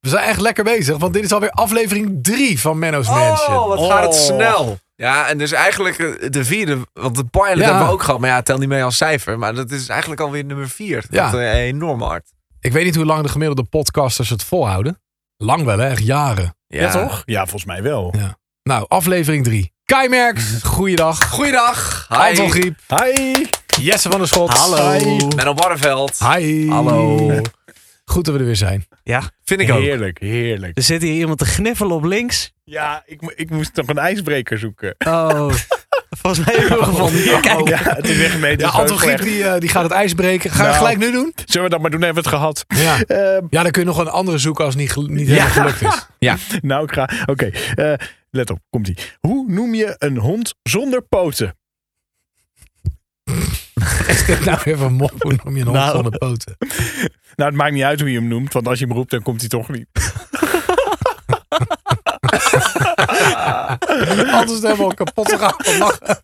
We zijn echt lekker bezig, want dit is alweer aflevering 3 van Menno's Oh, Mansion. wat gaat het Oh. snel. Ja, en dus eigenlijk eh, de vierde, want de pilot Ja. hebben we ook gehad. Maar ja, tel niet mee als cijfer. Maar dat is eigenlijk alweer nummer vier. Dat Ja. gaat eh, enorm hard. Ik weet niet hoe lang de gemiddelde podcasters het volhouden. Lang wel, hè? Echt jaren. Ja, Ja, volgens mij wel. Nou, aflevering 3. Kai Merks, goeiedag. Goeiedag. Anton Hi. Griep, Hi! Jesse van der Schot. Hi. Menno Barneveld. Hi. Hallo. Goed dat we er weer zijn. Ja, Vind ik ook. Heerlijk, heerlijk. er zit hier iemand te gniffelen op links. Ja, ik, mo- ik moest nog een ijsbreker zoeken. Oh, volgens mij hebben we hem gevonden. Oh. Kijk, Ja, het is echt een meter Ja, zo Anton Griep slecht. die, eh, die gaat het ijs breken. Ga je Nou. gelijk nu doen? Zullen we dat maar doen? Hebben we het gehad? Ja. Eh, ja, dan kun je nog een andere zoeken als het niet, gel- niet Ja. helemaal gelukt is. nou, ik ga... Oké, eh, let op. Komt-ie. Hoe noem je een hond zonder poten? Is dit nou weer van mop? Hoe noem je een hond Nou. zonder poten? Nou, het maakt niet uit hoe je hem noemt, want als je hem roept, dan komt hij toch niet. Anders is het helemaal kapot gegaan van lachen.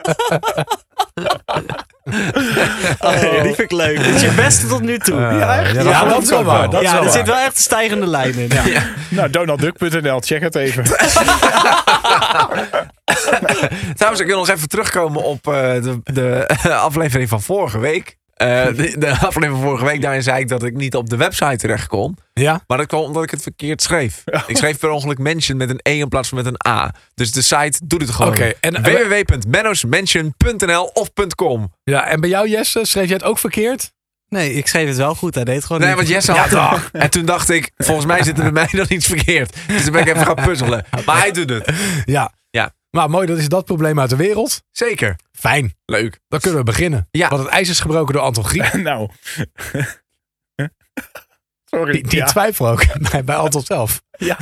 oh, die vind ik leuk. Dit is je beste tot nu toe. echt? Eh, ja, dat Ja, klopt dat is wel ook waar. wel. Dat is ja, wel er waar. zit wel echt een stijgende lijn in. Ja. Nou, donaldduck.nl, check het even. Trouwens, ik wil nog eens even terugkomen op eh, de, de aflevering van vorige week. Eh, de, de aflevering van vorige week, daarin zei ik dat ik niet op de website terecht kon. Ja? Maar dat kwam omdat ik het verkeerd schreef. Ik schreef per ongeluk mention met een E in plaats van met een A. Dus de site doet het gewoon. Oké, en- www.mennosmansion.nl of .com. ja. En bij jou, Jesse, schreef jij het ook verkeerd? Nee, ik schreef het wel goed. Hij deed het gewoon Nee, niet. want Jesse had het. En toen dacht ik, volgens mij zit er bij mij dan iets verkeerd. Dus toen ben ik even gaan puzzelen. Maar hij doet het. Ja. Ja. Maar mooi, dat is dat probleem uit de wereld. Zeker. Fijn. Leuk. Dan kunnen we beginnen. Ja. Want het ijs is gebroken door Anton Griep. nou. Sorry. Die, die ja. twijfel ook bij, bij Anton zelf. Ja.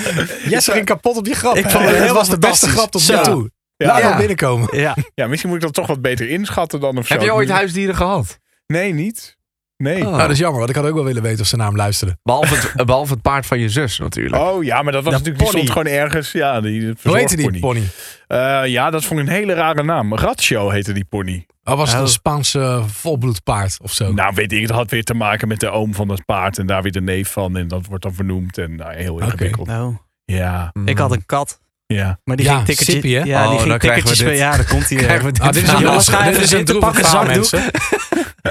Jesse ging kapot op die grap. Ik vond het dat helemaal was de beste fantastisch. grap tot nu Zo. toe. Ja. Laat Ja. hem binnenkomen. Ja, ja, misschien moet ik dat toch wat beter inschatten dan of zo. Heb je ooit huisdieren gehad? Nee, niet. Nee. Oh. Nou, dat is jammer, want ik had ook wel willen weten of ze naar hem luisterde. Behalve het, eh, behalve het paard van je zus natuurlijk. Oh ja, maar dat was De natuurlijk, die pony. stond gewoon ergens. Ja, die het Hoe heette die verzorgpony. pony? Eh, ja, dat vond ik een hele rare naam. Ratio heette die pony. Oh, was het Oh. een Spaanse volbloedpaard of zo? Nou, weet ik, het had weer te maken met de oom van dat paard en daar weer de neef van. En dat wordt dan vernoemd en nou, heel ingewikkeld. nou. Ja, Ik had een kat. ja. Maar die Ja, ging ticketje, Sippy, hè? Ja, Oh, die dan ging krijgen we ticketjes... dit. ver- Ja, daar komt hij. Krijgen we weer. dit Ah, dit is een, nou? jongens, lastig- dit ga even is een zitten, droevig pak een verhaal, zakdoek. mensen.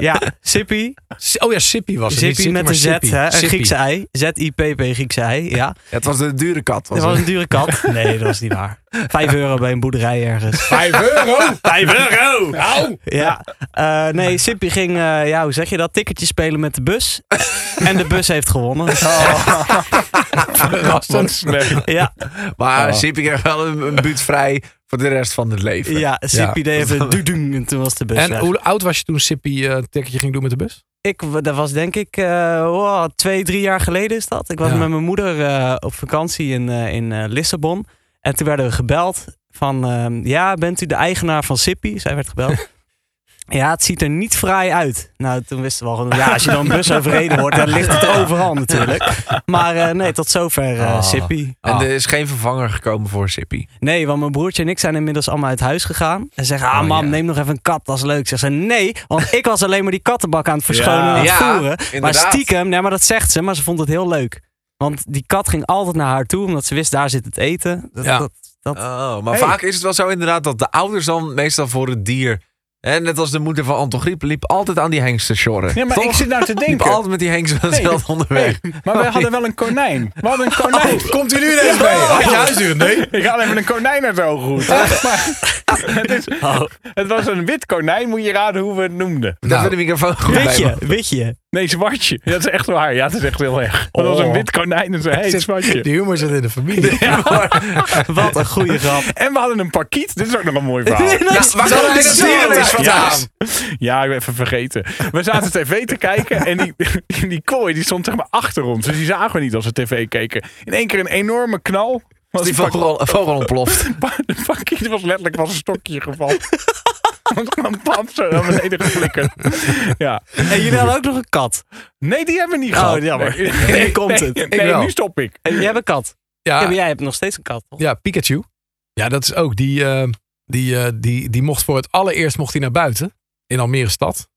Ja, Sippy. Oh ja, Sippy was het. niet Sippy met maar een Z, Sippy. hè? Een Sippy. Griekse ei. Z-I-P-P, Griekse ei, ja. Ja, het was de dure kat. Was Dat was het. een dure kat. Nee, dat was niet waar. Vijf euro bij een boerderij ergens. Vijf euro! Vijf euro! Au! Ja. Eh, nee, Sippy ging, eh, ja, hoe zeg je dat? Ticketjes spelen met de bus. en de bus heeft gewonnen. Wat Oh. Verrassend. slecht. Ja, Maar Oh. Siep, ik heb wel een, een buurt vrij voor de rest van het leven. ja Sippy deed even doedoen en toen was de bus En weg. hoe oud was je toen Sippy eh een tikketje ging doen met de bus? Ik, w- dat was denk ik eh, wow, twee, drie jaar geleden is dat. Ik was Ja. met mijn moeder eh, op vakantie in, eh, in eh, Lissabon. En toen werden we gebeld van, ehm, ja, bent u de eigenaar van Sippy? Zij werd gebeld. ja, het ziet er niet fraai uit. Nou, toen wisten we al, gewoon, ja, als je dan bus overreden wordt, dan ligt het overal natuurlijk. Maar eh, nee, tot zover eh Ah. Sippy. En er is geen vervanger gekomen voor Sippy. Nee, want mijn broertje en ik zijn inmiddels allemaal uit huis gegaan. En zeggen, ah Oh, mam, ja. neem nog even een kat, dat is leuk. Zegt ze, nee, want ik was alleen maar die kattenbak aan het verschonen en aan het Ja, voeren. Maar inderdaad. stiekem, nee, maar dat zegt ze, maar ze vond het heel leuk. Want die kat ging altijd naar haar toe, omdat ze wist, daar zit het eten. Dat, Ja. dat, dat- Oh, maar Hey. vaak is het wel zo inderdaad dat de ouders dan meestal voor het dier... Hè, net als de moeder van Anton Griep liep altijd aan die hengsten sjorren. Ja, maar Toch? ik zit nou te liep denken. altijd met die hengsten Nee, vanzelf onderweg. Hey, maar we hadden wel een konijn. We hadden een konijn. Oh. Komt u nu ineens mee? Had je huisdieren? Nee. Ik haal even een konijn uit de ogen goed. het, is- het was een wit konijn, moet je raden hoe we het noemden. Dat Nou. we de microfoon goed Weet bij je, weet je. Nee, zwartje. Dat is echt waar. Ja, het is echt heel erg. Dat was een wit konijn en ze heet zwartje. Die humor zit in de familie. Wat een goede grap. En we hadden een parkiet. Dit is ook nog een mooi verhaal. Ja, waar Zo komt dit is het dier wel. ineens vandaan? Ja, ja, ik ben even vergeten. We zaten tv te kijken en die, die kooi die stond zeg maar achter ons. Dus die zagen we niet als we tv keken. In één keer een enorme knal. Was Die de pak- vogel, vogel ontploft. de parkiet was letterlijk was een stokje gevallen. Want dan pam zo naar beneden geflikkerd. Ja. En jullie hadden ook nog een kat. Nee, die hebben we niet Oh, gehad. jammer. Nee, Nu komt nee, het. Nee, Ik wel. nu stop ik. En jij hebt een kat. Ah. Ja, maar Ja, jij hebt nog steeds een kat, toch? ja, Pikachu. Ja, dat is ook. Die, eh, die, eh, die, die Oh. mocht voor het allereerst mocht hij naar buiten. In Almere stad.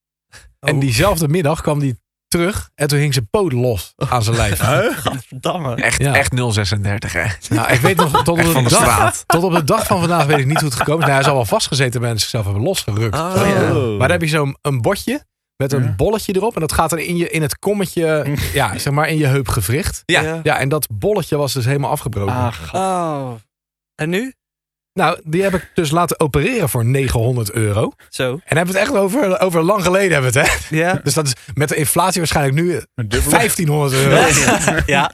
En diezelfde middag kwam die terug en toen hing zijn poot los aan zijn lijf. Gadverdamme. Echt, Ja. echt 036, hè? Nou, ik weet nog, tot Echt op, van de de dag, straat. tot op de dag van vandaag weet ik niet hoe het gekomen is. Nou, hij zal wel vastgezeten hebben en zichzelf hebben losgerukt. Oh, Zo. ja. Maar dan heb je zo'n een botje met een Ja. bolletje erop. En dat gaat dan in, je, in het kommetje, ja, zeg maar in je heupgewricht. Ja. Ja, en dat bolletje was dus helemaal afgebroken. Ah. Oh. En nu? Nou, die heb ik dus laten opereren voor 900 euro. Zo. En hebben we het echt over, over lang geleden hebben we het, hè? Ja. Dus dat is met de inflatie waarschijnlijk nu Een dubbele. 1500 euro. ja.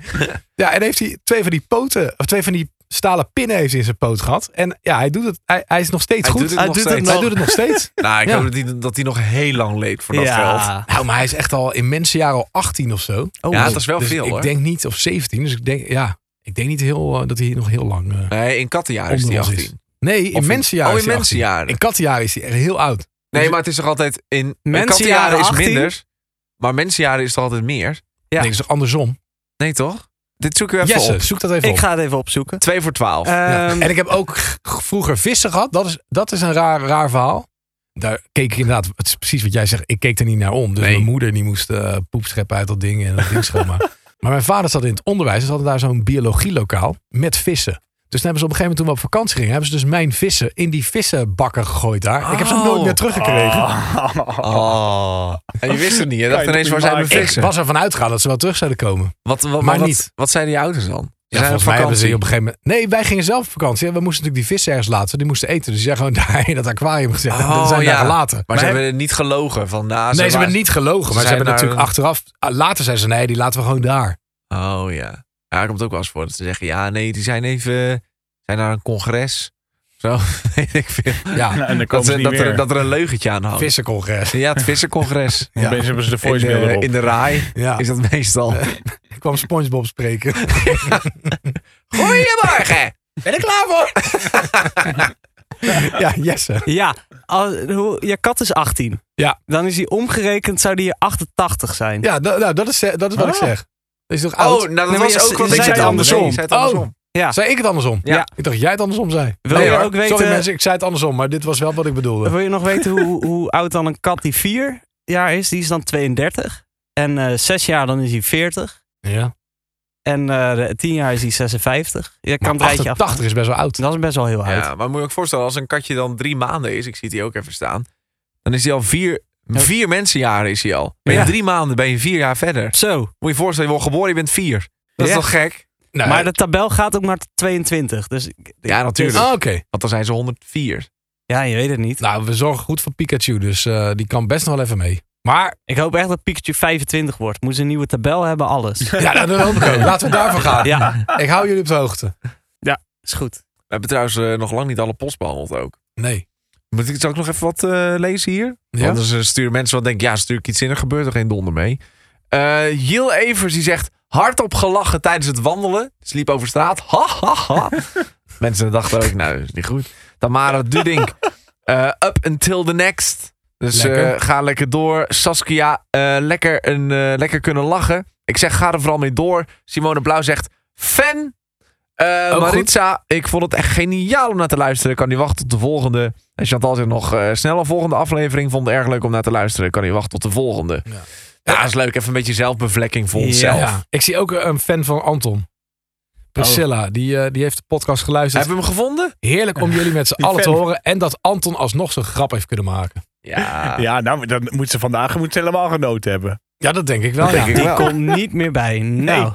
Ja, en heeft hij twee van die poten, of twee van die stalen pinnen heeft hij in zijn poot gehad. En ja, hij doet het, hij, hij is nog steeds Hij goed. doet het Hij nog steeds. doet het Hij doet het nog steeds. Nou, ik Ja. hoop dat hij, dat hij nog heel lang leeft voor dat geld. nou, maar hij is echt al in mensenjaren al 18 of zo. Oh, Ja, dat is wel dus veel, ik hoor. denk niet, of 17. Dus ik denk, ja, ik denk niet heel, eh, dat hij hier nog heel lang eh Nee, in kattenjaar is hij onder ons 18. is. Nee, Of in mensenjaren Oh, is in hij 18. mensenjaren. In kattenjaren is hij echt heel oud. Nee, maar het is toch altijd... In, in Mensenjaren kattenjaren is 18? minder. Maar mensenjaren is toch altijd meer? Ja. Ja. Nee, dat is toch andersom. Nee, toch? Dit zoeken we even Jesse, op. zoek dat even op. Ik ga het even opzoeken. 2 voor 12. Ja. Ehm, En ik heb ook g- vroeger vissen gehad. Dat is, dat is een raar, raar verhaal. Daar keek ik inderdaad, het is precies wat jij zegt. Ik keek er niet naar om. Dus Nee. mijn moeder die moest eh, poep scheppen uit dat ding en dat ding schoonmaken. maar mijn vader zat in het onderwijs. Ze hadden daar zo'n biologielokaal met vissen. Dus toen hebben ze op een gegeven moment toen we op vakantie gingen, hebben ze dus mijn vissen in die vissenbakken gegooid daar. Ik heb ze nooit meer teruggekregen. Ah. Nou, Oh. En je wist het niet. Je Kan dacht je ineens, waar toch zijn niet mijn maken? Ik vissen? was ervan uitgegaan dat ze wel terug zouden komen. Wat, wat, Maar wat, niet. Wat zeiden die ouders dan? Ze Ja, zijn op volgens mij hebben ze vakantie. hier op een gegeven moment... Nee, wij gingen zelf op vakantie. We moesten natuurlijk die vissen ergens laten. Die moesten eten. Dus die zijn gewoon daar in dat aquarium gezet. en Oh, die zijn ja. daar gelaten. Maar ze hebben niet gelogen van... Nou, nee, ze waren- hebben niet gelogen. Maar ze ze hebben zijn natuurlijk daar- achteraf... ah, Later zijn ze, nee, die laten we gewoon daar. Oh ja. Ja, daar komt ook wel eens voor dat ze zeggen: ja, nee, die zijn even. zijn naar een congres. Zo, weet ik veel. Ja, en dan Dat, komen ze ze- niet dat, meer. er, dat er een leugentje aan hangt. vissencongres. Ja, het vissencongres. Ja. Opeens hebben ze de In voicemail de, erop. in de raai Ja, is dat meestal. ik kwam Spongebob spreken. Goedemorgen! Ben ik klaar voor? ja, Jesse. ja, als, hoe, je kat is 18. Ja. Dan is hij omgerekend, zou die hier 88 zijn. Ja, da- nou, dat is, dat is wat ik Ah. zeg. Dat is toch oud? Oh, nou, dat Nee, maar was je- ook wat je ik zei zei het andersom. andersom. Je zei het andersom. Oh. Ja. Zei ik het andersom? Ja. Oh, Ik dacht dat jij het andersom zei. Wil Nee, je hoor. ook weten, Sorry mensen, ik zei het andersom. Maar dit was wel wat ik bedoelde. Wil je nog weten hoe, hoe oud dan een kat die 4 jaar is? Die is dan 32. En eh 6 jaar dan is hij 40. Ja. En eh de 10 jaar is hij 56. Je kan het Maar rijtje 88 af. is best wel oud. Dat is best wel heel oud. Ja, maar moet je ook voorstellen, als een katje dan drie maanden is, ik zie die ook even staan, dan is hij al vier, vier mensenjaren is hij al. Ben je Ja. drie maanden, ben je vier jaar verder. Zo. Moet je je voorstellen, je wordt geboren, je bent vier. Dat Ja. is toch gek? Nou, Maar de tabel gaat ook maar tot 22. Dus ik- Ja, natuurlijk. Ah, Oké. Want dan zijn ze 104. ja, je weet het niet. Nou, we zorgen goed voor Pikachu, dus eh, die kan best nog wel even mee. Maar, Ik hoop echt dat Pikachu 25 wordt. Moet ze een nieuwe tabel hebben, alles. ja, nou, dat hoop ik ook. Laten we daarvoor gaan. Ja, Ik hou jullie op de hoogte. is goed. We hebben trouwens eh, nog lang niet alle post behandeld ook. Nee. Moet ik, zal ik nog even wat eh, lezen hier? Ja? Anders eh, sturen mensen wat denken, ja, stuur ik iets in, er gebeurt er geen donder mee. Eh Jill Evers die zegt, hardop gelachen tijdens het wandelen. Ze liep over straat, ha ha ha. mensen dachten ook, nou, is niet goed. Tamara Dudink, eh, up until the next. Dus eh, Lekker. ga lekker door. Saskia, eh, lekker, een, eh, lekker kunnen lachen. Ik zeg, ga er vooral mee door. Simone Blauw zegt, fan. Eh, Ook Maritza, ik vond het echt geniaal om naar te luisteren. Ik kan niet wachten tot de volgende. En Chantal zegt nog, eh snel een volgende aflevering. Vond het erg leuk om naar te luisteren. Ik kan niet wachten tot de volgende. Ja. Ja, is leuk. Even een beetje zelfbevlekking voor Ja. onszelf. Ja. Ik zie ook eh, een fan van Anton. Priscilla, die, eh, die heeft de podcast geluisterd. Hebben we hem gevonden? Heerlijk om jullie met z'n Die allen te fan. horen. En dat Anton alsnog zo'n grap heeft kunnen maken. Ja. Ja, nou, dan moet ze vandaag moet ze helemaal genoten hebben. Ja, dat denk ik wel. Dat denk ja. ik Die wel. komt niet meer bij. Nou,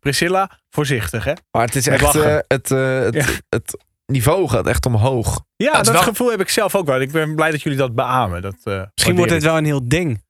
Priscilla, voorzichtig, hè? Maar het is Met echt... lachen. eh, het, eh, het, Ja. het niveau gaat echt omhoog. Ja, Dat dat, is wel- gevoel heb ik zelf ook wel. Ik ben blij dat jullie dat beamen. Dat, eh, misschien waardeer wordt dit ik. wel een heel ding.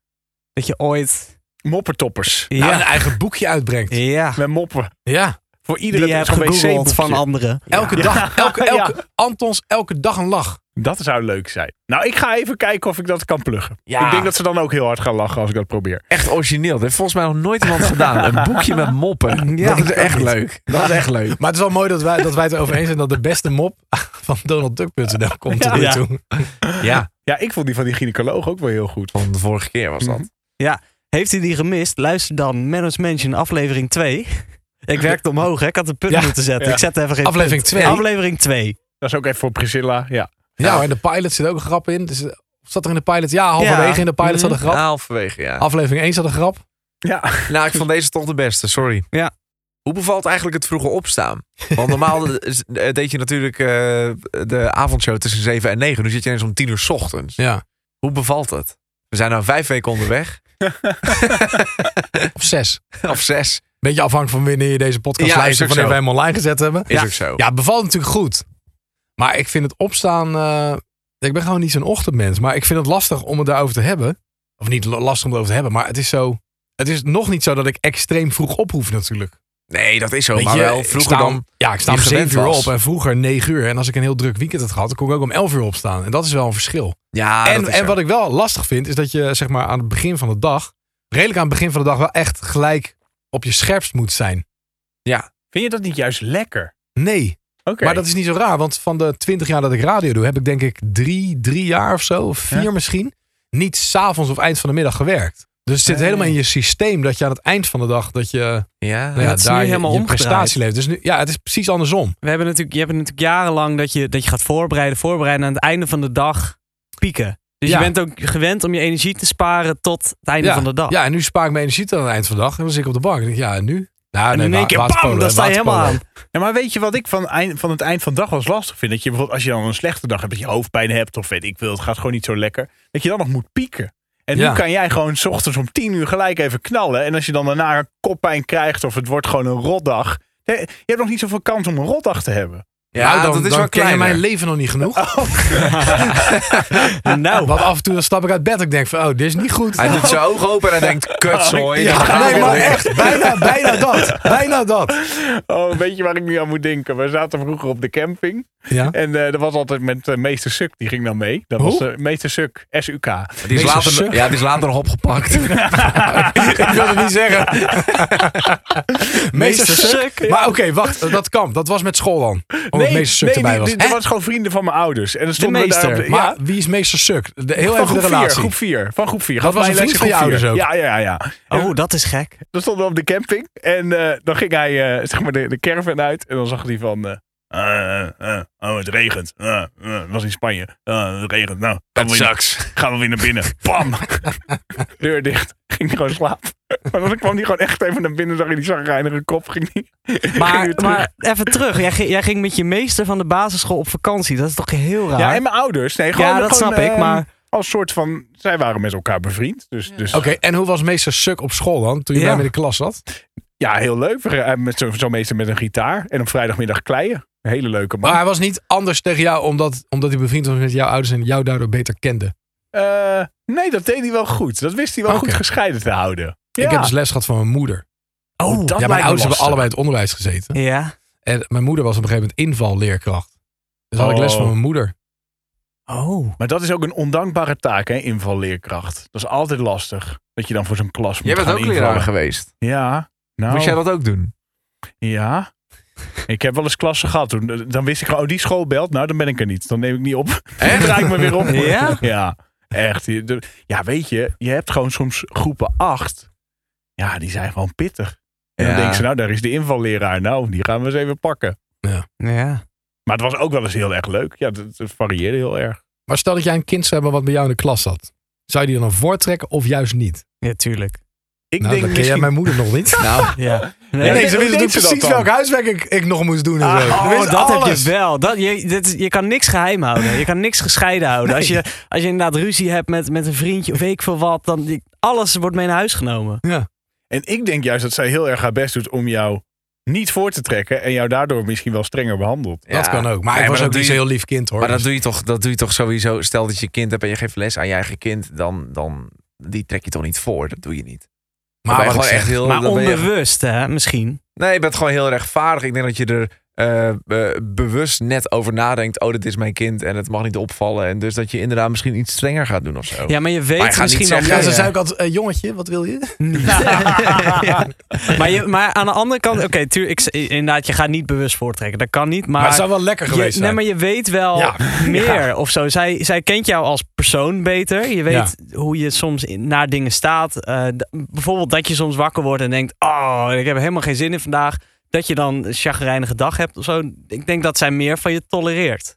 Dat je ooit... moppertoppers. Nou, Ja, een eigen boekje uitbrengt. ja. Met moppen. Ja. Voor iedereen Die je hebt gegoogeld van anderen. Elke Ja. dag, elke, Ja. elke, Antons elke dag een lach. Dat zou leuk zijn. Nou, ik ga even kijken of ik dat kan pluggen. Ja. Ik denk dat ze dan ook heel hard gaan lachen als ik dat probeer. Echt origineel. Dat heeft volgens mij nog nooit iemand gedaan. Een boekje met moppen. Ja, dat is dat echt niet. leuk. Dat is echt leuk. Maar het is wel mooi dat wij, dat wij het erover eens zijn dat de beste mop van DonaldDuck.nl nou komt tot nu Ja. toe. Ja. Ja, ik vond die van die gynaecoloog ook wel heel goed. Van de vorige keer was dat. Heeft hij die gemist? Luister dan Manage Mansion aflevering 2. Ik werkte omhoog, hè? ik had een punt Ja. moeten zetten. Ja. Ik zet even geen Aflevering punt. 2? Aflevering 2. Dat is ook even voor Priscilla. Ja. Ja, en de pilot zit ook een grap in. Dus, eh, zat er in de pilot? Ja, halverwege Ja. in de pilot zat een grap. Halverwege, ja. Aflevering 1 zat een grap. Ja. Nou, ik vond deze toch de beste, sorry. Ja. Hoe bevalt eigenlijk het vroege opstaan? Want normaal is- eh, deed je natuurlijk eh, de avondshow tussen 7 en 9. Nu zit je ineens om 10 uur 's ochtends. Ja. Hoe bevalt het? We zijn nou vijf weken onderweg. Of zes. of zes. Beetje afhankelijk van wanneer je deze podcast Ja, is luistert. ook Wanneer we zo. hem online gezet hebben. Is ja. ook zo. Ja, het bevalt natuurlijk goed. Maar ik vind het opstaan. eh, ik ben gewoon niet zo'n ochtendmens. Maar ik vind het lastig om het daarover te hebben. Of niet la- lastig om het over te hebben. Maar het is zo. Het is nog niet zo dat ik extreem vroeg op hoef, natuurlijk. Nee, dat is zo. Weet maar je, wel ik vroeger sta om- dan. Ja, ik sta je om gewend 7 uur was. op en vroeger 9 uur. En als ik een heel druk weekend had gehad, dan kon ik ook om 11 uur opstaan. En dat is wel een verschil. Ja, en Ah, dat is en zo. wat ik wel lastig vind, is dat je zeg maar aan het begin van de dag. redelijk aan het begin van de dag wel echt gelijk op je scherpst moet zijn. Vind je dat niet juist lekker? Nee. Oké. Maar dat is niet zo raar, want van de 20 jaar dat ik radio doe, heb ik denk ik drie, drie jaar of zo, of vier Ja. misschien, niet s'avonds of eind van de middag gewerkt. Dus het zit Nee. helemaal in je systeem dat je aan het eind van de dag dat je nou Ja. ja, dat is nu daar je, helemaal je omgedraaid. prestatie levert. Dus nu, ja, het is precies andersom. We hebben natuurlijk, je hebt natuurlijk jarenlang dat je, dat je gaat voorbereiden, voorbereiden. En aan het einde van de dag pieken. Dus Ja. je bent ook gewend om je energie te sparen tot het einde van de dag. Ja, en nu spaar ik mijn energie tot aan het eind van de dag en dan zit ik op de bank en denk ik, ja, en nu? Nou, en in één keer, bam, dan sta je helemaal aan. Ja, maar weet je wat ik van, eind, van het eind van de dag wel eens lastig vind? Dat je bijvoorbeeld als je dan een slechte dag hebt, dat je hoofdpijn hebt of weet ik veel, het gaat gewoon niet zo lekker. Dat je dan nog moet pieken. En Ja. nu kan jij gewoon 's ochtends om tien uur gelijk even knallen. En als je dan daarna een koppijn krijgt of het wordt gewoon een rotdag. hè, Je hebt nog niet zoveel kans om een rotdag te hebben. Ja, nou, dan, dat is dan wel ken je kleiner. mijn leven nog niet genoeg. Nou, Want af en toe dan stap ik uit bed en ik denk van, oh, dit is niet goed. Hij doet zijn ogen open en hij denkt: kutzooi. daar ja, gaan we nee, maar weer. echt, bijna, bijna dat. Bijna dat. Oh, weet je waar ik nu aan moet denken? We zaten vroeger op de camping. Ja. En eh dat was altijd met eh, meester Suk, die ging dan mee. Dat Hoe? was eh, meester Suk, SUK. Die is, Deze later, suk. ja, die is later nog opgepakt. ik wil het niet zeggen. meester Meester Suk. Suk. Maar oké, wacht. Dat kan. Dat was met school dan. Omdat Oh, meester Suk die- erbij was. die- dat Hè? was gewoon vrienden van mijn ouders. En dan stonden we daar meester, op de- Maar ja, wie is meester Suk? De, heel van even de groep vier, relatie. groep 4, van groep 4. Dat was een vriend van je ouders Ja, ja, ja. ja. oh, dat is gek. Dan stonden we op de camping en eh, dan ging hij eh, zeg maar de, de caravan uit. En dan zag hij van, eh, eh, eh, oh het regent. Eh, eh, het was in Spanje. Eh, het regent. Nou, gaan we, weer, Sucks. gaan we weer naar binnen. Bam! Deur dicht. Ging gewoon slapen. Maar dan kwam hij gewoon echt even naar binnen. Zag hij die zagrijnige kop. Ging die, ging Maar, weer terug. maar even terug, jij, ging- jij ging met je meester van de basisschool op vakantie. Dat is toch heel raar? Ja, en mijn ouders. Nee, gewoon, Ja, dat gewoon, snap ik, ehm, maar- Als soort van, zij waren met elkaar bevriend. Dus, dus Oké, en hoe was meester Suk op school dan? Toen je Ja. bij me in de klas zat? ja, heel leuk. We gaan- eh, Met zo- zo'n meester met een gitaar. En op vrijdagmiddag kleien. Een hele leuke man. Maar hij was niet anders tegen jou omdat, omdat hij bevriend was met jouw ouders en jou daardoor beter kende. Eh, nee, dat deed hij wel goed. Dat wist hij wel Oké. goed gescheiden te houden. Ja. Ik heb dus les gehad van mijn moeder. Oh, dat ja, lijkt me mijn ouders hebben lastig. allebei in het onderwijs gezeten. Ja. En mijn moeder was op een gegeven moment invalleerkracht. Dus had ik les Oh. van mijn moeder. Oh. Maar dat is ook een ondankbare taak, hè, invalleerkracht. Dat is altijd lastig. Dat je dan voor zo'n klas moet Jij bent gaan ook leraar invallen. geweest. Ja. Nou, Moest jij dat ook doen? Ja. Ik heb wel eens klassen gehad. Toen, dan wist ik gewoon, oh, die school belt. Nou, dan ben ik er niet. Dan neem ik niet op. En draai ik me weer op. Ja? Ja, echt. Je- de- Ja, weet je, je hebt gewoon soms groepen acht. Ja, die zijn gewoon pittig. En Ja. dan denken ze, nou, daar is de invalleraar. Nou, die gaan we eens even pakken. Ja. Maar het was ook wel eens heel erg leuk. Ja, het, het varieerde heel erg. Maar stel dat jij een kind zou hebben wat bij jou in de klas zat. Zou je die dan voortrekken of juist niet? Ja, tuurlijk. Ik nou, denk dan ken jij misschien... mijn moeder nog niet. Nou, Ja. Nee, Nee, ze hoe wisten deed toen ze dat precies dan? welk huiswerk ik, ik nog moest doen en Ah, zo. oh, Ze Oh, wisten dat heb alles. je wel. Dat, je, dit is- je kan niks geheim houden. Je kan niks gescheiden houden. Als, je, als je inderdaad ruzie hebt met, met een vriendje of weet ik veel wat, dan die- alles wordt mee naar huis genomen. En ik denk juist dat zij heel erg haar best doet om jou niet voor te trekken. En jou daardoor misschien wel strenger behandelt. Dat ja. kan ook. Maar Nee, ik was dat ook doe niet je- zo'n heel lief kind hoor. Maar dat Dus- doe, je toch, dat doe je toch sowieso. Stel dat je kind hebt en je geeft les aan je eigen kind, dan, dan die trek je toch niet voor. Dat doe je niet. Dan ben maar eh, je wat ik gewoon zeg, echt heel. Maar Oh, dan ben je- onbewust, hè, misschien. nee, je bent gewoon heel rechtvaardig. Ik denk dat je er eh, eh, bewust net over nadenkt. Oh, dit is mijn kind en het mag niet opvallen. En dus dat je inderdaad misschien iets strenger gaat doen of zo. Ja, maar je Maar je weet gaat misschien niet wel zeggen, ja, Ja, ze ja. zei ook altijd, eh, jongetje, wat wil je? Ja. maar, je, maar aan de andere kant, oké, tuur- ik, inderdaad, je gaat niet bewust voortrekken. Dat kan niet. Maar, Maar het zou wel lekker je, geweest nee, zijn. maar je weet wel Ja. meer of zo. Zij, zij kent jou als persoon beter. Je weet hoe je soms in- naar dingen staat. Eh, d- bijvoorbeeld dat je soms wakker wordt en denkt: Oh, ik heb er helemaal geen zin in vandaag. Dat je dan een chagrijnige dag hebt of zo. Ik denk dat zij meer van je tolereert.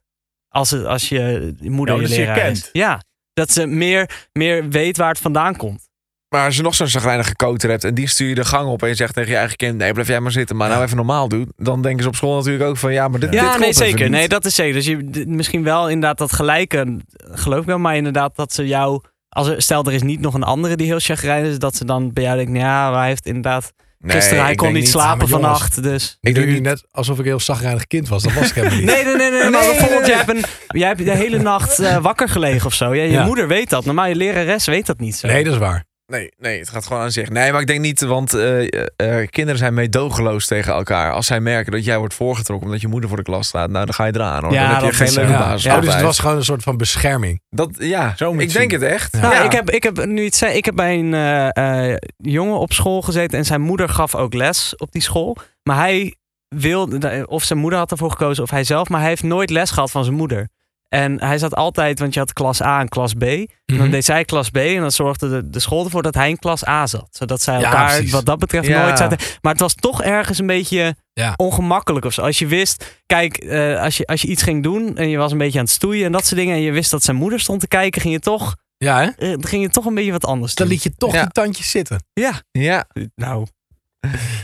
Als, het, als je moeder Ja, je dus omdat ze je leraar is. kent. Ja, dat ze meer, meer weet waar het vandaan komt. Maar als je nog zo'n zagrijnige koter hebt en die stuur je de gang op en je zegt tegen je eigen kind, nee blijf jij maar zitten, maar nou even normaal doen. Dan denken ze op school natuurlijk ook van, ja maar dit, dit Ja, klopt nee, even zeker. niet. Nee, dat is zeker. Dus je, d- misschien wel inderdaad dat gelijke, geloof ik wel. Maar inderdaad dat ze jou, als er, stel er is niet nog een andere die heel chagrijnig is, dat ze dan bij jou denken, ja, maar hij heeft inderdaad, Nee, gisteren hij ik kon denk niet, slapen maar jongens- vannacht, dus... Ik doe Ik denk nu niet. net alsof ik een heel zagrijnig kind was. Dat was ik helemaal niet. Nee, nee, nee, nee. maar nee, bijvoorbeeld, nee. Jij, hebt een- jij hebt de hele nacht eh, wakker gelegen of zo. Ja, je Ja. moeder weet dat. Normaal, je lerares weet dat niet zo. Nee, dat is waar. Nee, nee, het gaat gewoon aan zich. Nee, maar ik denk niet, want eh, eh, eh, kinderen zijn meedogenloos tegen elkaar. Als zij merken dat jij wordt voorgetrokken omdat je moeder voor de klas staat, nou dan ga je eraan hoor. Ja, dan heb je dat geen is- leuke ja. basis. Ja, Oh, dus het altijd. was gewoon een soort van bescherming. dat, ja Zo moet ik je denk het echt. Ja. Ja. Nou, ik, heb, ik heb nu iets zei, Ik heb bij een eh, eh, jongen op school gezeten en zijn moeder gaf ook les op die school. Maar hij wilde, of zijn moeder had ervoor gekozen of hij zelf, maar hij heeft nooit les gehad van zijn moeder. En hij zat altijd, want je had klas A en klas B. En dan Mhm. deed zij klas B en dan zorgde de, de school ervoor dat hij in klas A zat. Zodat zij Ja, elkaar precies. wat dat betreft Ja. nooit zaten. Maar het was toch ergens een beetje Ja. ongemakkelijk of zo. Als je wist, kijk, eh, als, je, als je iets ging doen en je was een beetje aan het stoeien en dat soort dingen. En je wist dat zijn moeder stond te kijken, ging je toch Ja, hè? Dus eh, dan ging je toch een beetje wat anders Dan doen. liet je toch Ja. die tandjes zitten. Ja, Ja. nou.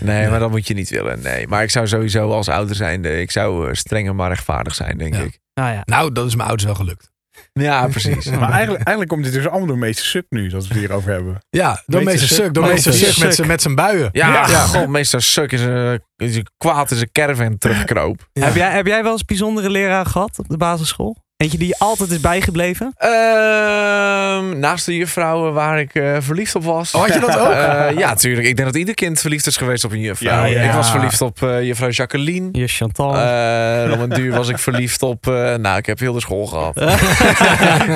Nee, maar dat moet je niet willen. Nee, maar ik zou sowieso als ouder zijnde, ik zou eh, strenger maar rechtvaardig zijn, denk Ja. ik. Nou ja. Nou, dat is mijn ouders wel gelukt. Ja, precies. Maar eigenlijk, eigenlijk komt dit dus allemaal door meester Suk nu, dat we het hierover hebben. Ja, door Meester meester Suk. Suk. Door Meester meester Suk met Suk. z'n- met zijn buien. Ja, Ja. god, meester Suk is een, is een kwaad is een caravan terugkroop. Ja. Heb, jij, heb jij wel eens bijzondere leraar gehad op de basisschool? Eentje die je altijd is bijgebleven? Ehm, naast de juffrouwen waar ik eh, verliefd op was. Oh, had je dat ook? Eh, ja, tuurlijk. Ik denk dat ieder kind verliefd is geweest op een juffrouw. Ja, ja. Ik was verliefd op eh, juffrouw Jacqueline. Je Chantal. Eh, dan een duur was ik verliefd op... eh, nou, ik heb heel de school gehad. Eh?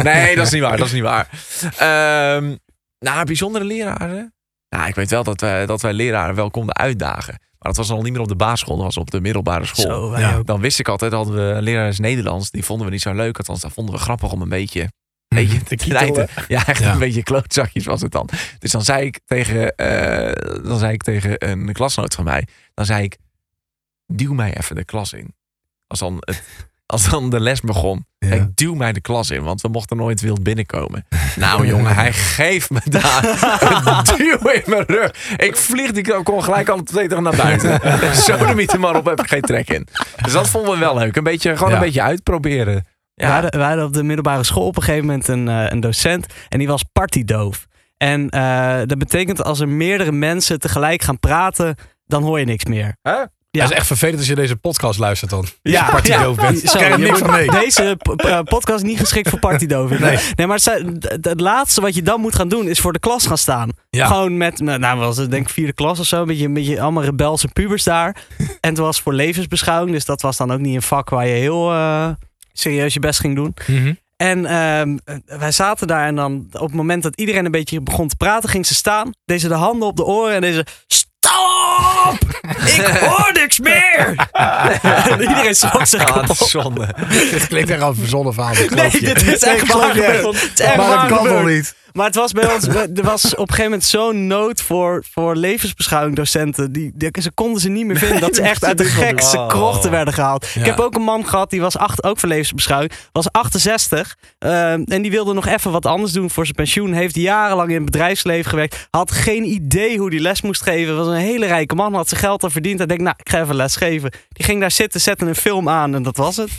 nee, dat is niet waar. Dat is niet waar. Ehm, nou, bijzondere leraren. Nou, ik weet wel dat wij, dat wij leraren wel konden uitdagen. Maar dat was al niet meer op de basisschool. Dat was op de middelbare school. Zo, wij Ja. ook. Dan wist ik altijd, hadden we een leraar is Nederlands. Die vonden we niet zo leuk. Althans, dat vonden we grappig om een beetje... Mhm. Weet je, te kietelen. knijten. Ja, echt Ja. een beetje klootzakjes was het dan. Dus dan zei ik tegen, eh, dan zei ik tegen een klasnoot van mij. Dan zei ik, duw mij even de klas in. Als dan, het, als dan de les begon. Ja. Kijk, duw mij de klas in, want we mochten nooit wild binnenkomen. Nou jongen, hij geeft me daar een duw in mijn rug. Ik vlieg, die kon gelijk al twee terug naar buiten. Zo de mythe maar op, heb ik geen trek in. Dus dat vonden we wel leuk. Een beetje, gewoon Ja. een beetje uitproberen. We, hadden, we hadden op de middelbare school op een gegeven moment een, eh, een docent. En die was partydoof. En eh, dat betekent als er meerdere mensen tegelijk gaan praten, dan hoor je niks meer. Ja. Dat is echt vervelend als je deze podcast luistert dan. Ja, partydoof bent. Zo, Krijg je je niks moet- van mee. Deze p- eh, podcast is niet geschikt voor partydoving. Nee. Nee. nee, maar het zou- d- d- het laatste wat je dan moet gaan doen is voor de klas gaan staan. Ja. Gewoon met, nou, nou was het denk ik vierde klas of zo, een beetje, een beetje allemaal rebelse pubers daar. en het was voor levensbeschouwing, dus dat was dan ook niet een vak waar je heel eh, serieus je best ging doen. Mhm. En ehm, wij zaten daar en dan op het moment dat iedereen een beetje begon te praten, ging ze staan. Deze de handen op de oren en deze... Stop! Ik hoor niks meer! en iedereen schrok zich Ah, kapot. zonde. Dit klinkt echt als een verzonnen verhaal. dat Nee, geloof je. dit is echt geloof waar je echt. gebeurd. Het is echt Maar waar dat kan gebeurd. wel niet. Maar het was bij ons, we- er was op een gegeven moment zo'n nood voor, voor levensbeschouwing docenten. Die, die, ze konden ze niet meer vinden. Dat ze echt uit de gekste Oh. krochten werden gehaald. Ja. Ik heb ook een man gehad, die was acht, ook voor levensbeschouwing. Was 68. ehm, en die wilde nog even wat anders doen voor zijn pensioen. Heeft jarenlang in het bedrijfsleven gewerkt. Had geen idee hoe die les moest geven. Was een hele rijke man, had zijn geld al verdiend. Hij denkt, nou, ik ga even les geven. Die ging daar zitten, zette een film aan en dat was het.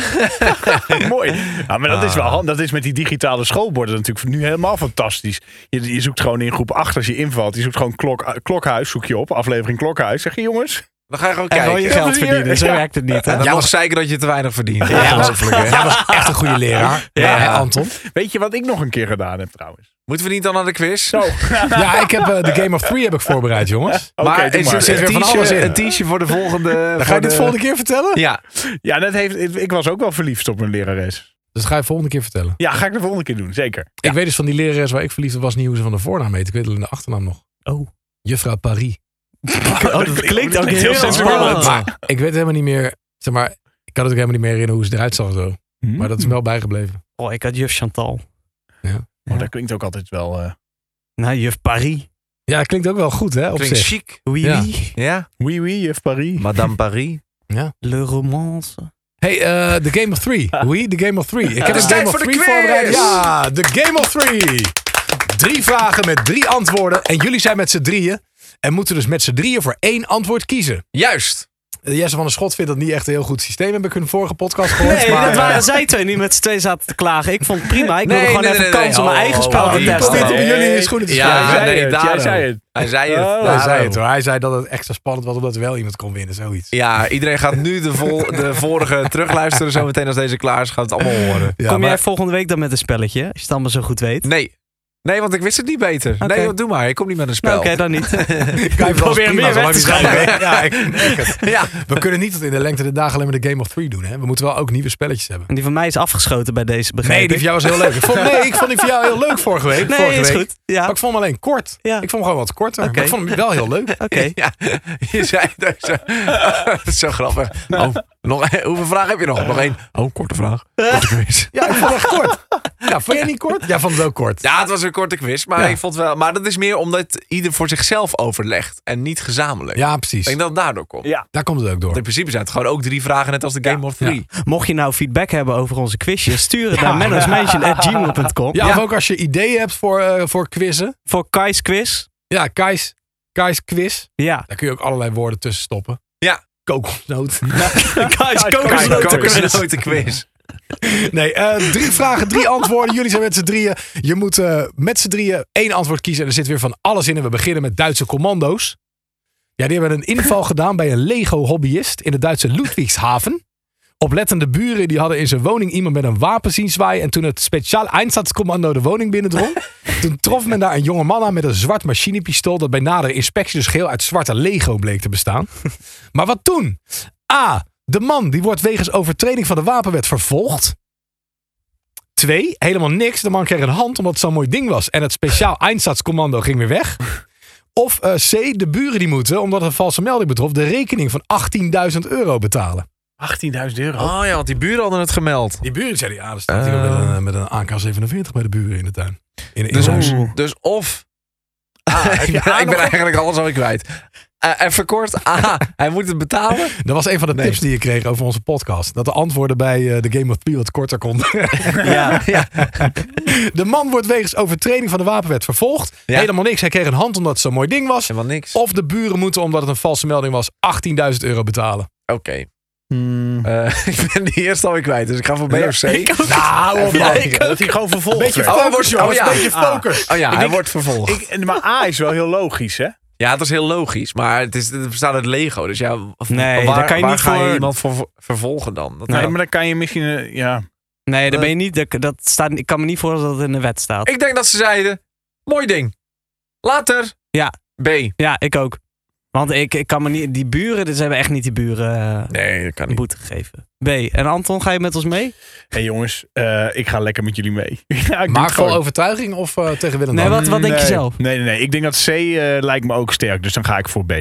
Mooi. Ja, maar dat is wel handig. Dat is met die digitale schoolborden natuurlijk nu helemaal fantastisch. Je, je zoekt gewoon in groep 8 als je invalt. Je zoekt gewoon klok, klokhuis, zoek je op. Aflevering klokhuis. Zeg je jongens. Dan ga je gewoon En kijken. gewoon je ja, geld dus hier- verdienen. Zo ja. werkt het niet. hè? En dan nog zeker dat je te weinig verdient. Ja, Ja. was, jij was echt een goede leraar. Ja, Ja. hè, Anton. Weet je wat ik nog een keer gedaan heb trouwens? Moeten we niet dan naar de quiz? Zo. Ja, ik heb eh, de Game of Three heb ik voorbereid, jongens. Oké, maar doe er maar. zit Er zit een weer van alles t-shirt- in. een t-shirt voor de volgende... Dan ga voor je dit de- volgende keer vertellen? Ja, Ja, dat heeft, ik was ook wel verliefd op mijn lerares. Dus dat ga je volgende keer vertellen. Ja, ga ik de volgende keer doen, zeker. Ik weet dus van die lerares waar ik verliefd op was niet hoe ze van de voornaam heet. Ik weet alleen de achternaam nog. Oh. Juffrouw Paris. Oh, dat klinkt ook heel sensueel. spannend. Maar ik weet helemaal niet meer, zeg maar, ik kan het ook helemaal niet meer herinneren hoe ze eruit zag en zo. Hm? Maar dat is me wel bijgebleven. Oh, ik had juf Chantal. Maar Oh, dat klinkt ook altijd wel... eh Nou, juf Paris. Ja, dat klinkt ook wel goed, hè? Op klinkt zich. chic. Oui, Ja. oui. Ja, oui, oui, juf Paris. Madame Paris. Le romance. Hey, eh, The Game of Three. Hoe? The Game of Three. Ik heb Het is een tijd Game of voor de Three quiz. voorbereid. Ja, The Game of Three. Drie vragen met drie antwoorden. En jullie zijn met z'n drieën. En moeten dus met z'n drieën voor één antwoord kiezen. Juist. Eh, Jesse van der Schot vindt dat niet echt een heel goed systeem. Heb ik in de vorige podcast gehoord. Nee, maar, dat eh, waren zij twee die met z'n twee zaten te klagen. Ik vond het prima. Ik Nee, wilde gewoon nee, even nee, kans nee. om mijn Oh, eigen oh, eh, spel oh, te die testen. Het is niet om Nee. jullie in je schoenen te Ja, schrijven. Jij zei nee, het, jij daarom. zei het. Hij zei het. Oh. Hij Hij zei zei het hoor. Hij zei dat het extra spannend was omdat er wel iemand kon winnen. Zoiets. Ja, iedereen gaat nu de, vol, de vorige terugluisteren. Zometeen als deze klaar is, gaat het allemaal horen. Ja, Kom maar- jij volgende week dan met een spelletje? Als je het allemaal zo goed weet. Nee. Nee, want ik wist het niet beter. Oké. Nee, joh, doe maar. Ik kom niet met een spel. Nou, Oké, dan niet. Kijk, dat is probeer prima, meer zolang weg te die schrijven. zijn. Ja, ik merk het. Ja. We kunnen niet tot in de lengte de dagen alleen maar de Game of Three doen. Hè? We moeten wel ook nieuwe spelletjes hebben. En die van mij is afgeschoten bij deze, begreep Nee, die van ik. jou was heel leuk. Ik vond, nee, ik vond die van jou heel leuk vorige week. Nee, vorige is week. goed. Ja, Maar ik oké. vond hem alleen kort. Ja. Ik vond hem gewoon wat korter. Oké. Maar ik vond hem wel heel leuk. Ja, je zei dat zo, zo grappig. Oh, nog, hoeveel vragen heb je nog? Nog één. Oh, korte vraag. Korte quiz. Ja, ik vond hem echt kort. Ja, vond jij niet kort? Ja, vond het ook kort. Ja, het was een korte quiz, maar Ja. ik vond wel. Maar dat is meer omdat ieder voor zichzelf overlegt en niet gezamenlijk. Ja, Ik precies. denk dat het daardoor komt. Ja. Daar komt het ook Want door. in principe zijn het gewoon ook drie vragen, net als de Game of Three. Mocht je nou feedback hebben over onze quizjes, stuur het Ja. naar mennosmansion.gmail.com. Ja, of ook als je ideeën hebt voor, eh, voor quizzen. Voor Kai's quiz. Ja, Kai's, Kai's quiz. Ja. Daar kun je ook allerlei woorden tussen stoppen. Ja. Kokosnoot. Kai's Kijk, Kokosnoten kokosnoten quiz. Nee, eh, drie vragen, drie antwoorden. Jullie zijn met z'n drieën. Je moet eh, met z'n drieën één antwoord kiezen. En er zit weer van alles in. En we beginnen met Duitse commando's. Ja, die hebben een inval gedaan bij een Lego-hobbyist in het Duitse Ludwigshaven. Oplettende buren die hadden in zijn woning iemand met een wapen zien zwaaien. En toen het speciaal Einsatzkommando de woning binnendrong, toen trof men daar een jonge man aan met een zwart machinepistool. dat bij nadere inspectie dus geheel uit zwarte Lego bleek te bestaan. Maar wat toen? A. De man die wordt wegens overtreding van de wapenwet vervolgd. Twee, helemaal niks. De man kreeg een hand omdat het zo'n mooi ding was. En het speciaal Einsatzkommando ging weer weg. Of eh, C, de buren die moeten, omdat het een valse melding betrof, de rekening van 18.000 euro betalen. 18.000 euro. Oh ja, want die buren hadden het gemeld. Die buren zeiden, ja, er staat Ah. hier wel eh, met een, met een AK-47 bij de buren in de tuin. In, in Dus, huis. dus of. Ah, heb ik je ben, A ik ben nog? eigenlijk alles alweer kwijt. Eh, even kort. A. Hij moet het betalen. Dat was een van de Nee. tips die je kreeg over onze podcast. Dat de antwoorden bij eh, de Game of Three wat korter konden. Ja. de man wordt wegens overtreding van de wapenwet vervolgd. Ja. Helemaal niks. Hij kreeg een hand omdat het zo'n mooi ding was. Helemaal niks. Oké. Of de buren moeten, omdat het een valse melding was, 18.000 euro betalen. Eh, ik ben de eerste alweer kwijt, dus ik ga voor B of C. Nou, Ja, dat hij gewoon vervolgd Beetje werd. Oh, hij focus, wordt- jongens. oh, ja. Een beetje Ah. focus. Oh ja, hij denk- wordt vervolgd. Ik, maar A is wel heel logisch, hè? Ja, het is heel logisch, maar het, is, het bestaat uit Lego. Dus ja, w- Nee, waar, daar kan je waar niet ga je voor- iemand voor voor- vervolgen dan? Dat- Nee, nou, maar dan kan je misschien... eh, ja. Nee, daar ben je niet. Dat, dat staat, ik kan me niet voorstellen dat het in de wet staat. Ik denk dat ze zeiden, mooi ding. Later. Ja. B. Ja, ik ook. Want ik, ik kan me niet. Die buren, ze hebben echt niet die buren eh, Nee, dat kan een niet. boete gegeven. B. En Anton, ga je met ons mee? Hé jongens, eh, ik ga lekker met jullie mee. ja, ik doe het Maar vol gewoon. overtuiging of eh, tegen willen Nee, dan? wat, wat denk je Nee. zelf? Nee, nee, nee. Ik denk dat C eh, lijkt me ook sterk. Dus dan ga ik voor B.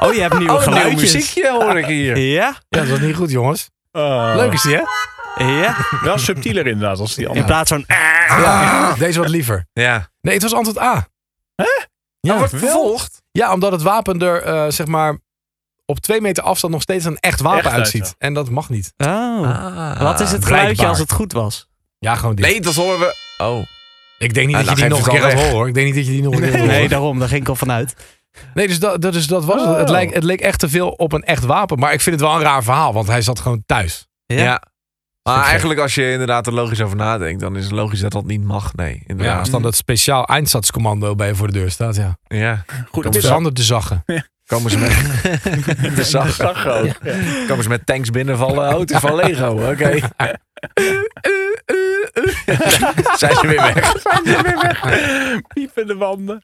Oh, je hebt nieuwe Oh, een nieuw geluidjes. muziekje hoor ik hier. Ja, Ja, dat was niet goed, jongens. Oh. Leuk is die, hè? ja. Wel subtieler inderdaad als die In andere. plaats van. Ah. Ja, deze wat liever. Ja. Nee, het was antwoord A. Hè? Ja, Hij wordt vervolgd. ja omdat het wapen er, eh, zeg maar, op twee meter afstand nog steeds een echt wapen Echt uit, uitziet. ja. En dat mag niet. Oh. Ah. Wat is het blijkbaar. geluidje als het goed was? Ja, gewoon dit. Nee, dat horen we. Oh. Ik denk niet dat Ah, nou, je die geef nog een het keer al gaat weg. horen, hoor. Ik denk niet dat je die nog een keer gaat Nee, horen. daarom, daar ging ik al vanuit. Nee, dus dat, dat, dus dat was het. Het Oh. leek, het leek echt te veel op een echt wapen. Maar ik vind het wel een raar verhaal, want hij zat gewoon thuis. Ja. Ja. Maar gek. eigenlijk als je inderdaad er logisch over nadenkt, dan is het logisch dat dat niet mag. Nee, Ja, als inderdaad. dan dat speciaal eindsatscommando bij je voor de deur staat, ja. Ja. Goed, Dan het is verandert de zaggen. Komen ze met... de zag. zag ook. Komen ze met tanks binnenvallen, Oh, auto's van Lego. Oké. Zijn ze weer weg. Piepende wanden.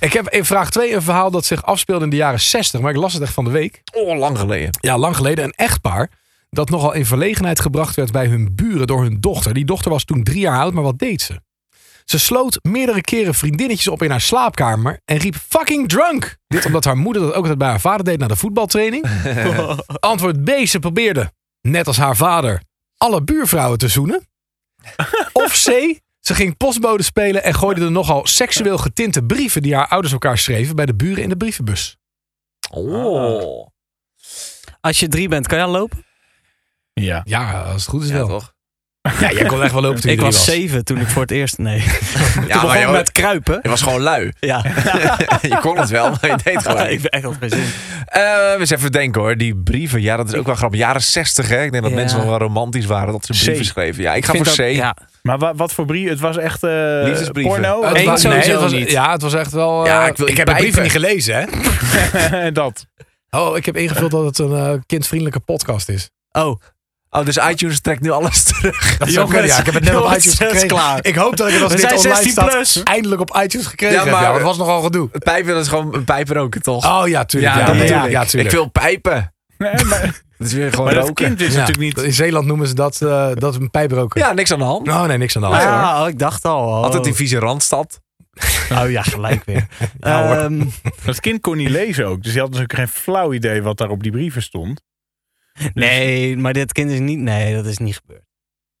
Ik heb in vraag 2 een verhaal dat zich afspeelde in de jaren 60, maar ik las het echt van de week. Oh, lang geleden. Ja, lang geleden. Een echtpaar dat nogal in verlegenheid gebracht werd bij hun buren door hun dochter. Die dochter was toen drie jaar oud, maar wat deed ze? Ze sloot meerdere keren vriendinnetjes op in haar slaapkamer en riep fucking drunk. Dit omdat haar moeder dat ook altijd bij haar vader deed na de voetbaltraining. Antwoord B. Ze probeerde, net als haar vader, alle buurvrouwen te zoenen. Of C. Ze ging postbode spelen en gooide de nogal seksueel getinte brieven die haar ouders elkaar schreven bij de buren in de brievenbus. Oh. Als je drie bent, kan je al lopen? Ja. Ja, als het goed is Ja, wel. toch? Ja, jij kon echt wel lopen toen je ik drie was zeven toen ik voor het eerst... Nee, Ja, begon maar ik je, met kruipen. je was gewoon lui. Ja, je kon het wel, maar je deed het gewoon. ik ben echt al geen zin. Eh, eens even denken hoor, die brieven. Ja, dat is ook wel grappig. Jaren 60 hè. Ik denk dat Ja. mensen nog wel romantisch waren dat ze brieven schreven. Ja, ik ga vind voor C. dat- Ja, Maar wa- wat voor brief? Het was echt eh, Liefdesbrieven. porno? Het Eén was, nee, sowieso het was, niet. Ja, het was echt wel... Ja, eh, ik wil ik heb niet de brieven pijpen. niet gelezen, hè? dat. Oh, ik heb ingevuld dat het een eh, kindvriendelijke podcast is. Oh, Oh, dus iTunes trekt nu alles terug. Dat is ook Jongens, wel- ja, ik heb het net op jongens, iTunes het is gekregen. klaar. Ik hoop dat ik het als we dit zijn online 16 staat plus. eindelijk op iTunes gekregen Ja, heb. maar- Ja, dat was nogal gedoe. Pijpen, dat is gewoon een pijper ook toch? Oh ja, tuurlijk. Ja, dat bedoel ja, ik. ja, tuurlijk. Ik wil pijpen. Nee, maar, Dat is weer gewoon maar dat roken. kind is Ja, natuurlijk niet... In Zeeland noemen ze dat, eh, dat een pijbroker. Ja, niks aan de hand. Nou, nee, niks aan de hand. ah, oh, ik dacht al. Oh. Altijd die vieze randstad. Oh ja, gelijk weer. Ja, hoor. Ehm, Dat kind kon niet lezen ook. Dus die had natuurlijk geen flauw idee wat daar op die brieven stond. nee, maar dit kind is niet... Nee, dat is niet gebeurd.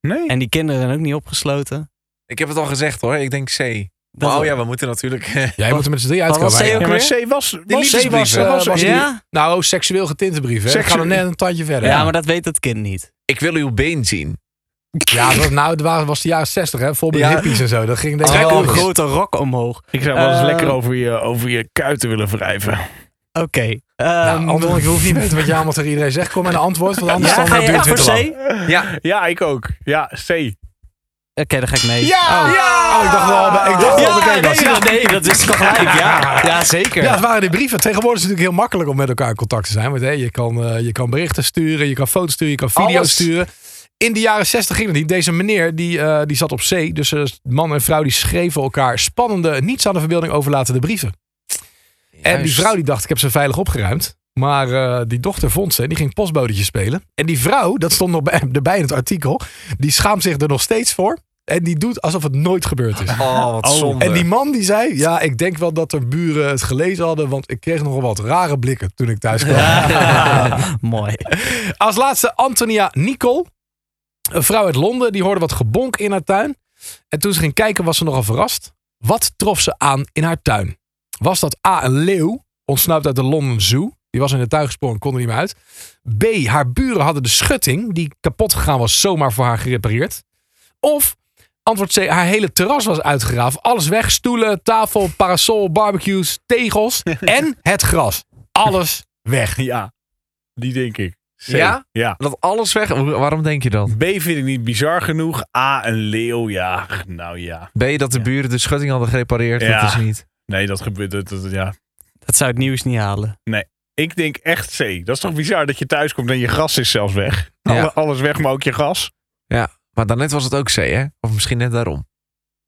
Nee. En die kinderen zijn ook niet opgesloten. Ik heb het al gezegd hoor, ik denk C. Dat Maar oh ja, we moeten natuurlijk... Jij moet er met z'n drie Wat was uitkomen. C eigenlijk. ook Ja, maar weer? C was... was Oh, liefdesbrieven. C was, Eh, was- was- Ja? Nou, seksueel getinte brieven. hè? Ik ga er Seksueel- net een tandje verder. ja, maar dat weet het kind niet. ik wil uw been zien. Ja, dat- nou, het wa- was de jaren 60, hè? Vol met Ja. hippies en zo. Dat ging denk ik Trek ook een goed. grote rok omhoog. Ik zou wel eens Eh, lekker over je, over je kuiten willen wrijven. Oké. Nou, ehm, Anton, ik hoef niet weten wat je allemaal tegen iedereen zegt. Kom met een antwoord, want anders ja, dan eh, ga duurt je het echt weer te voor C? lang. Oké, Ja. Ja, ik ook. Ja, C. dan ga ik mee. Ja! Oh. Oh, ik dacht wel, ik dacht wel dat ik Ah, Ja, één was. nee, dat, nee, dat is toch gelijk. Ja, ja zeker. Ja, het waren die brieven. Tegenwoordig is het natuurlijk heel makkelijk om met elkaar in contact te zijn. Want hé, je, kan, eh, je kan berichten sturen, je kan foto's sturen, je kan video's Alles. sturen. In de jaren 60 ging het niet. Deze meneer die, eh, die zat op zee. Dus eh, man en vrouw die schreven elkaar spannende, niets aan de verbeelding overlatende brieven. En die vrouw die dacht, ik heb ze veilig opgeruimd. Maar eh, die dochter vond ze en die ging postbodetje spelen. En die vrouw, dat stond nog bij, erbij in het artikel, die schaamt zich er nog steeds voor. En die doet alsof het nooit gebeurd is. Oh, wat Oh. zonde. En die man die zei, ja, ik denk wel dat er buren het gelezen hadden, want ik kreeg nogal wat rare blikken toen ik thuis kwam. Mooi. Als laatste Antonia Nicole, een vrouw uit Londen, die hoorde wat gebonk in haar tuin. En toen ze ging kijken was ze nogal verrast. Wat trof ze aan in haar tuin? Was dat A, een leeuw, ontsnapt uit de London Zoo. Die was in de tuin gesprongen, kon er niet meer uit. B, haar buren hadden de schutting, die kapot gegaan was, zomaar voor haar gerepareerd. Of antwoord C, haar hele terras was uitgegraven. Alles weg, stoelen, tafel, parasol, barbecues, tegels en het gras. Alles weg. Ja, die denk ik. C. Ja? Ja. Dat alles weg. Hoe- Waarom denk je dat? B vind ik niet bizar genoeg. A, een leeuw, ja. Nou ja. B, dat de buren de schutting hadden gerepareerd. Ja. Dat is niet. Nee, dat gebeurt. Dat, dat- ja. Dat zou het nieuws niet halen. Ik denk echt C. Dat is toch bizar dat je thuis komt en je gas is zelfs weg. Ja. Alle- Alles weg, maar ook je gas. Maar daarnet was het ook C, hè? Of misschien net daarom.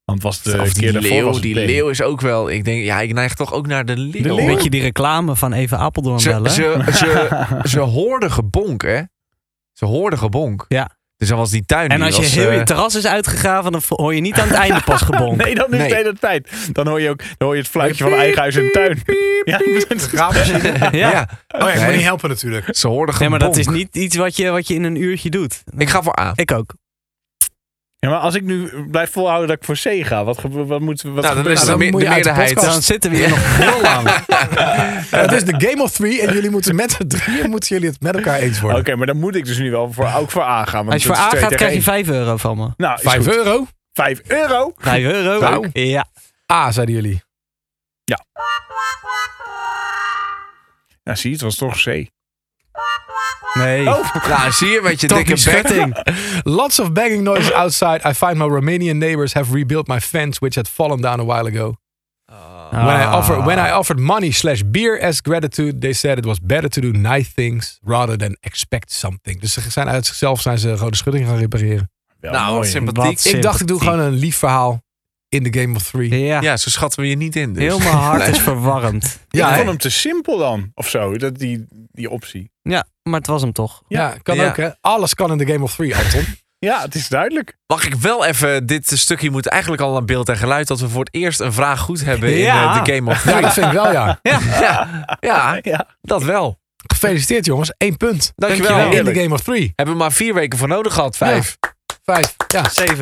Want was de of die keer daarvoor leeuw, was het die B. leeuw is ook wel... Ik denk, ja, ik neig toch ook naar de leeuw. leeuw? Een beetje die reclame van even Apeldoorn Ze, bellen. ze, ze, ze hoorden gebonk, hè? Ze hoorden gebonk. Ja. Dus dan was die tuin... En die als je was, heel eh, je terras is uitgegraven, dan hoor je niet aan het einde pas gebonk. Nee, dan is Nee. de hele tijd. Dan hoor je ook dan hoor je het fluitje van eigen huis en tuin. Ja, Ja. ja. Oh ja, ik moet Nee. niet helpen natuurlijk. ze hoorden Nee, gebonk. maar dat is niet iets wat je, wat je in een uurtje doet. Ik ga voor A. Nou, Ik ook. Ja, maar als ik nu blijf volhouden dat ik voor C ga, wat, gebe- wat moet wat Nou, dan gebeurt is er dan het dan? me- moet de je uit de meerderheid. podcast. Dan zitten we hier nog heel lang. Eh, Het is de Game of Three en jullie moeten met z'n drieën moeten jullie het met elkaar eens Oké, worden. maar dan moet ik dus nu wel voor, ook voor A gaan. want Als je voor het is A twee gaat, tegen krijg je één. 5 euro van me. Nou, is Vijf goed. euro? Vijf euro? 5 euro? Nou. Ja. A, Ah, zeiden jullie. Nou, zie je, het was toch C. Nee. Oh. Nou, zie je, met je Toch dikke die betting. Lots of banging noises outside. I find my Romanian neighbors have rebuilt my fence, which had fallen down a while ago. When, Ah. I, offer, when I offered money slash beer as gratitude, they said it was better to do nice things rather than expect something. Dus ze zijn uit zichzelf zijn ze rode schutting gaan repareren. Wel Nou, wat mooi. sympathiek. Wat- Ik dacht, ik doe Sympathiek. gewoon een lief verhaal in de Game of Three. Ah. Ja. Ja, zo schatten we je niet in. Dus. Heel mijn hart Nee. is verwarmd. Ja, ik hè? vond hem te simpel dan, of zo, dat, die, die optie. Ja, maar het was hem toch. ja, kan Ja. ook hè. Alles kan in de Game of Three, Anton. Ja, het is duidelijk. Mag ik wel even, dit stukje moet eigenlijk al aan beeld en geluid, dat we voor het eerst een vraag goed hebben in Ja. eh, de Game of Ja, Thrones. dat vind ik wel ja. Ja, ja, Ja. dat wel. Gefeliciteerd jongens, één punt. Dankjewel. Dankjewel. In de Game of Three. Hebben we maar vier weken voor nodig gehad, vijf. Vijf. Ja. 7.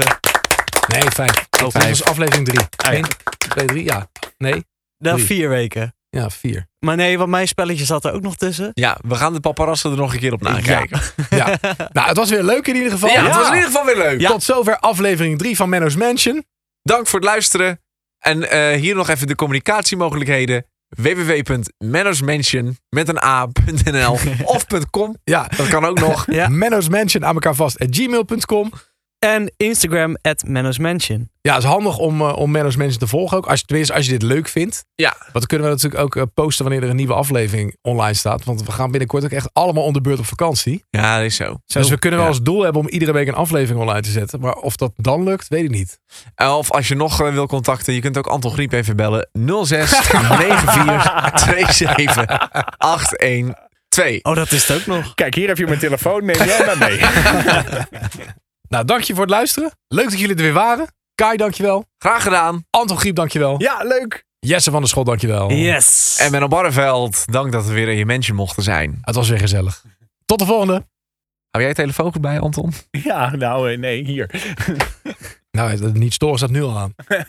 Nee, vijf. Dat vijf. was aflevering drie. ja. Eén, twee, drie. Ja. Nee. Na Drie. 4 weken. Ja, vier. Maar nee, want mijn spelletje zat er ook nog tussen. Ja, we gaan de paparazzen er nog een keer op nakijken. Ja. nou, het was weer leuk in ieder geval. Ja, het was in ieder geval weer leuk. Tot zover aflevering 3 van Menno's Mansion. Dank voor het luisteren. En eh, hier nog even de communicatiemogelijkheden. www.mannersmansion met een a.nl of .com. Ja, Dat kan ook nog. Ja. Menno's Mansion aan elkaar vast at gmail.com. En Instagram, at Menno's Mansion. Ja, het is handig om, eh, om Menno's Mansion te volgen ook. Als je, tenminste, als je dit leuk vindt. Ja. Want dan kunnen we natuurlijk ook eh, posten wanneer er een nieuwe aflevering online staat. Want we gaan binnenkort ook echt allemaal onder beurt op vakantie. Ja, dat is zo. dus we kunnen wel ja. als doel hebben om iedere week een aflevering online te zetten. Maar of dat dan lukt, weet ik niet. Eh, Of als je nog eh, wil contacten, je kunt ook Anton Griep even bellen. 06 94 27 812. Oh, dat is het ook nog. Kijk, hier heb je mijn telefoon. Neem jij maar mee. Nou, dank je voor het luisteren. Leuk dat jullie er weer waren. Kai, dankjewel. Graag gedaan. Anton Griep, dankjewel. Ja, leuk. Jesse van der Schot, dankjewel. Yes. En Menno Barreveld, dank dat we weer in je mensen mochten zijn. Het was weer gezellig. Tot de volgende. Hou jij je telefoon goed bij, Anton? Ja, nou eh, nee, hier. Nou, het- het niet storen staat nu al aan.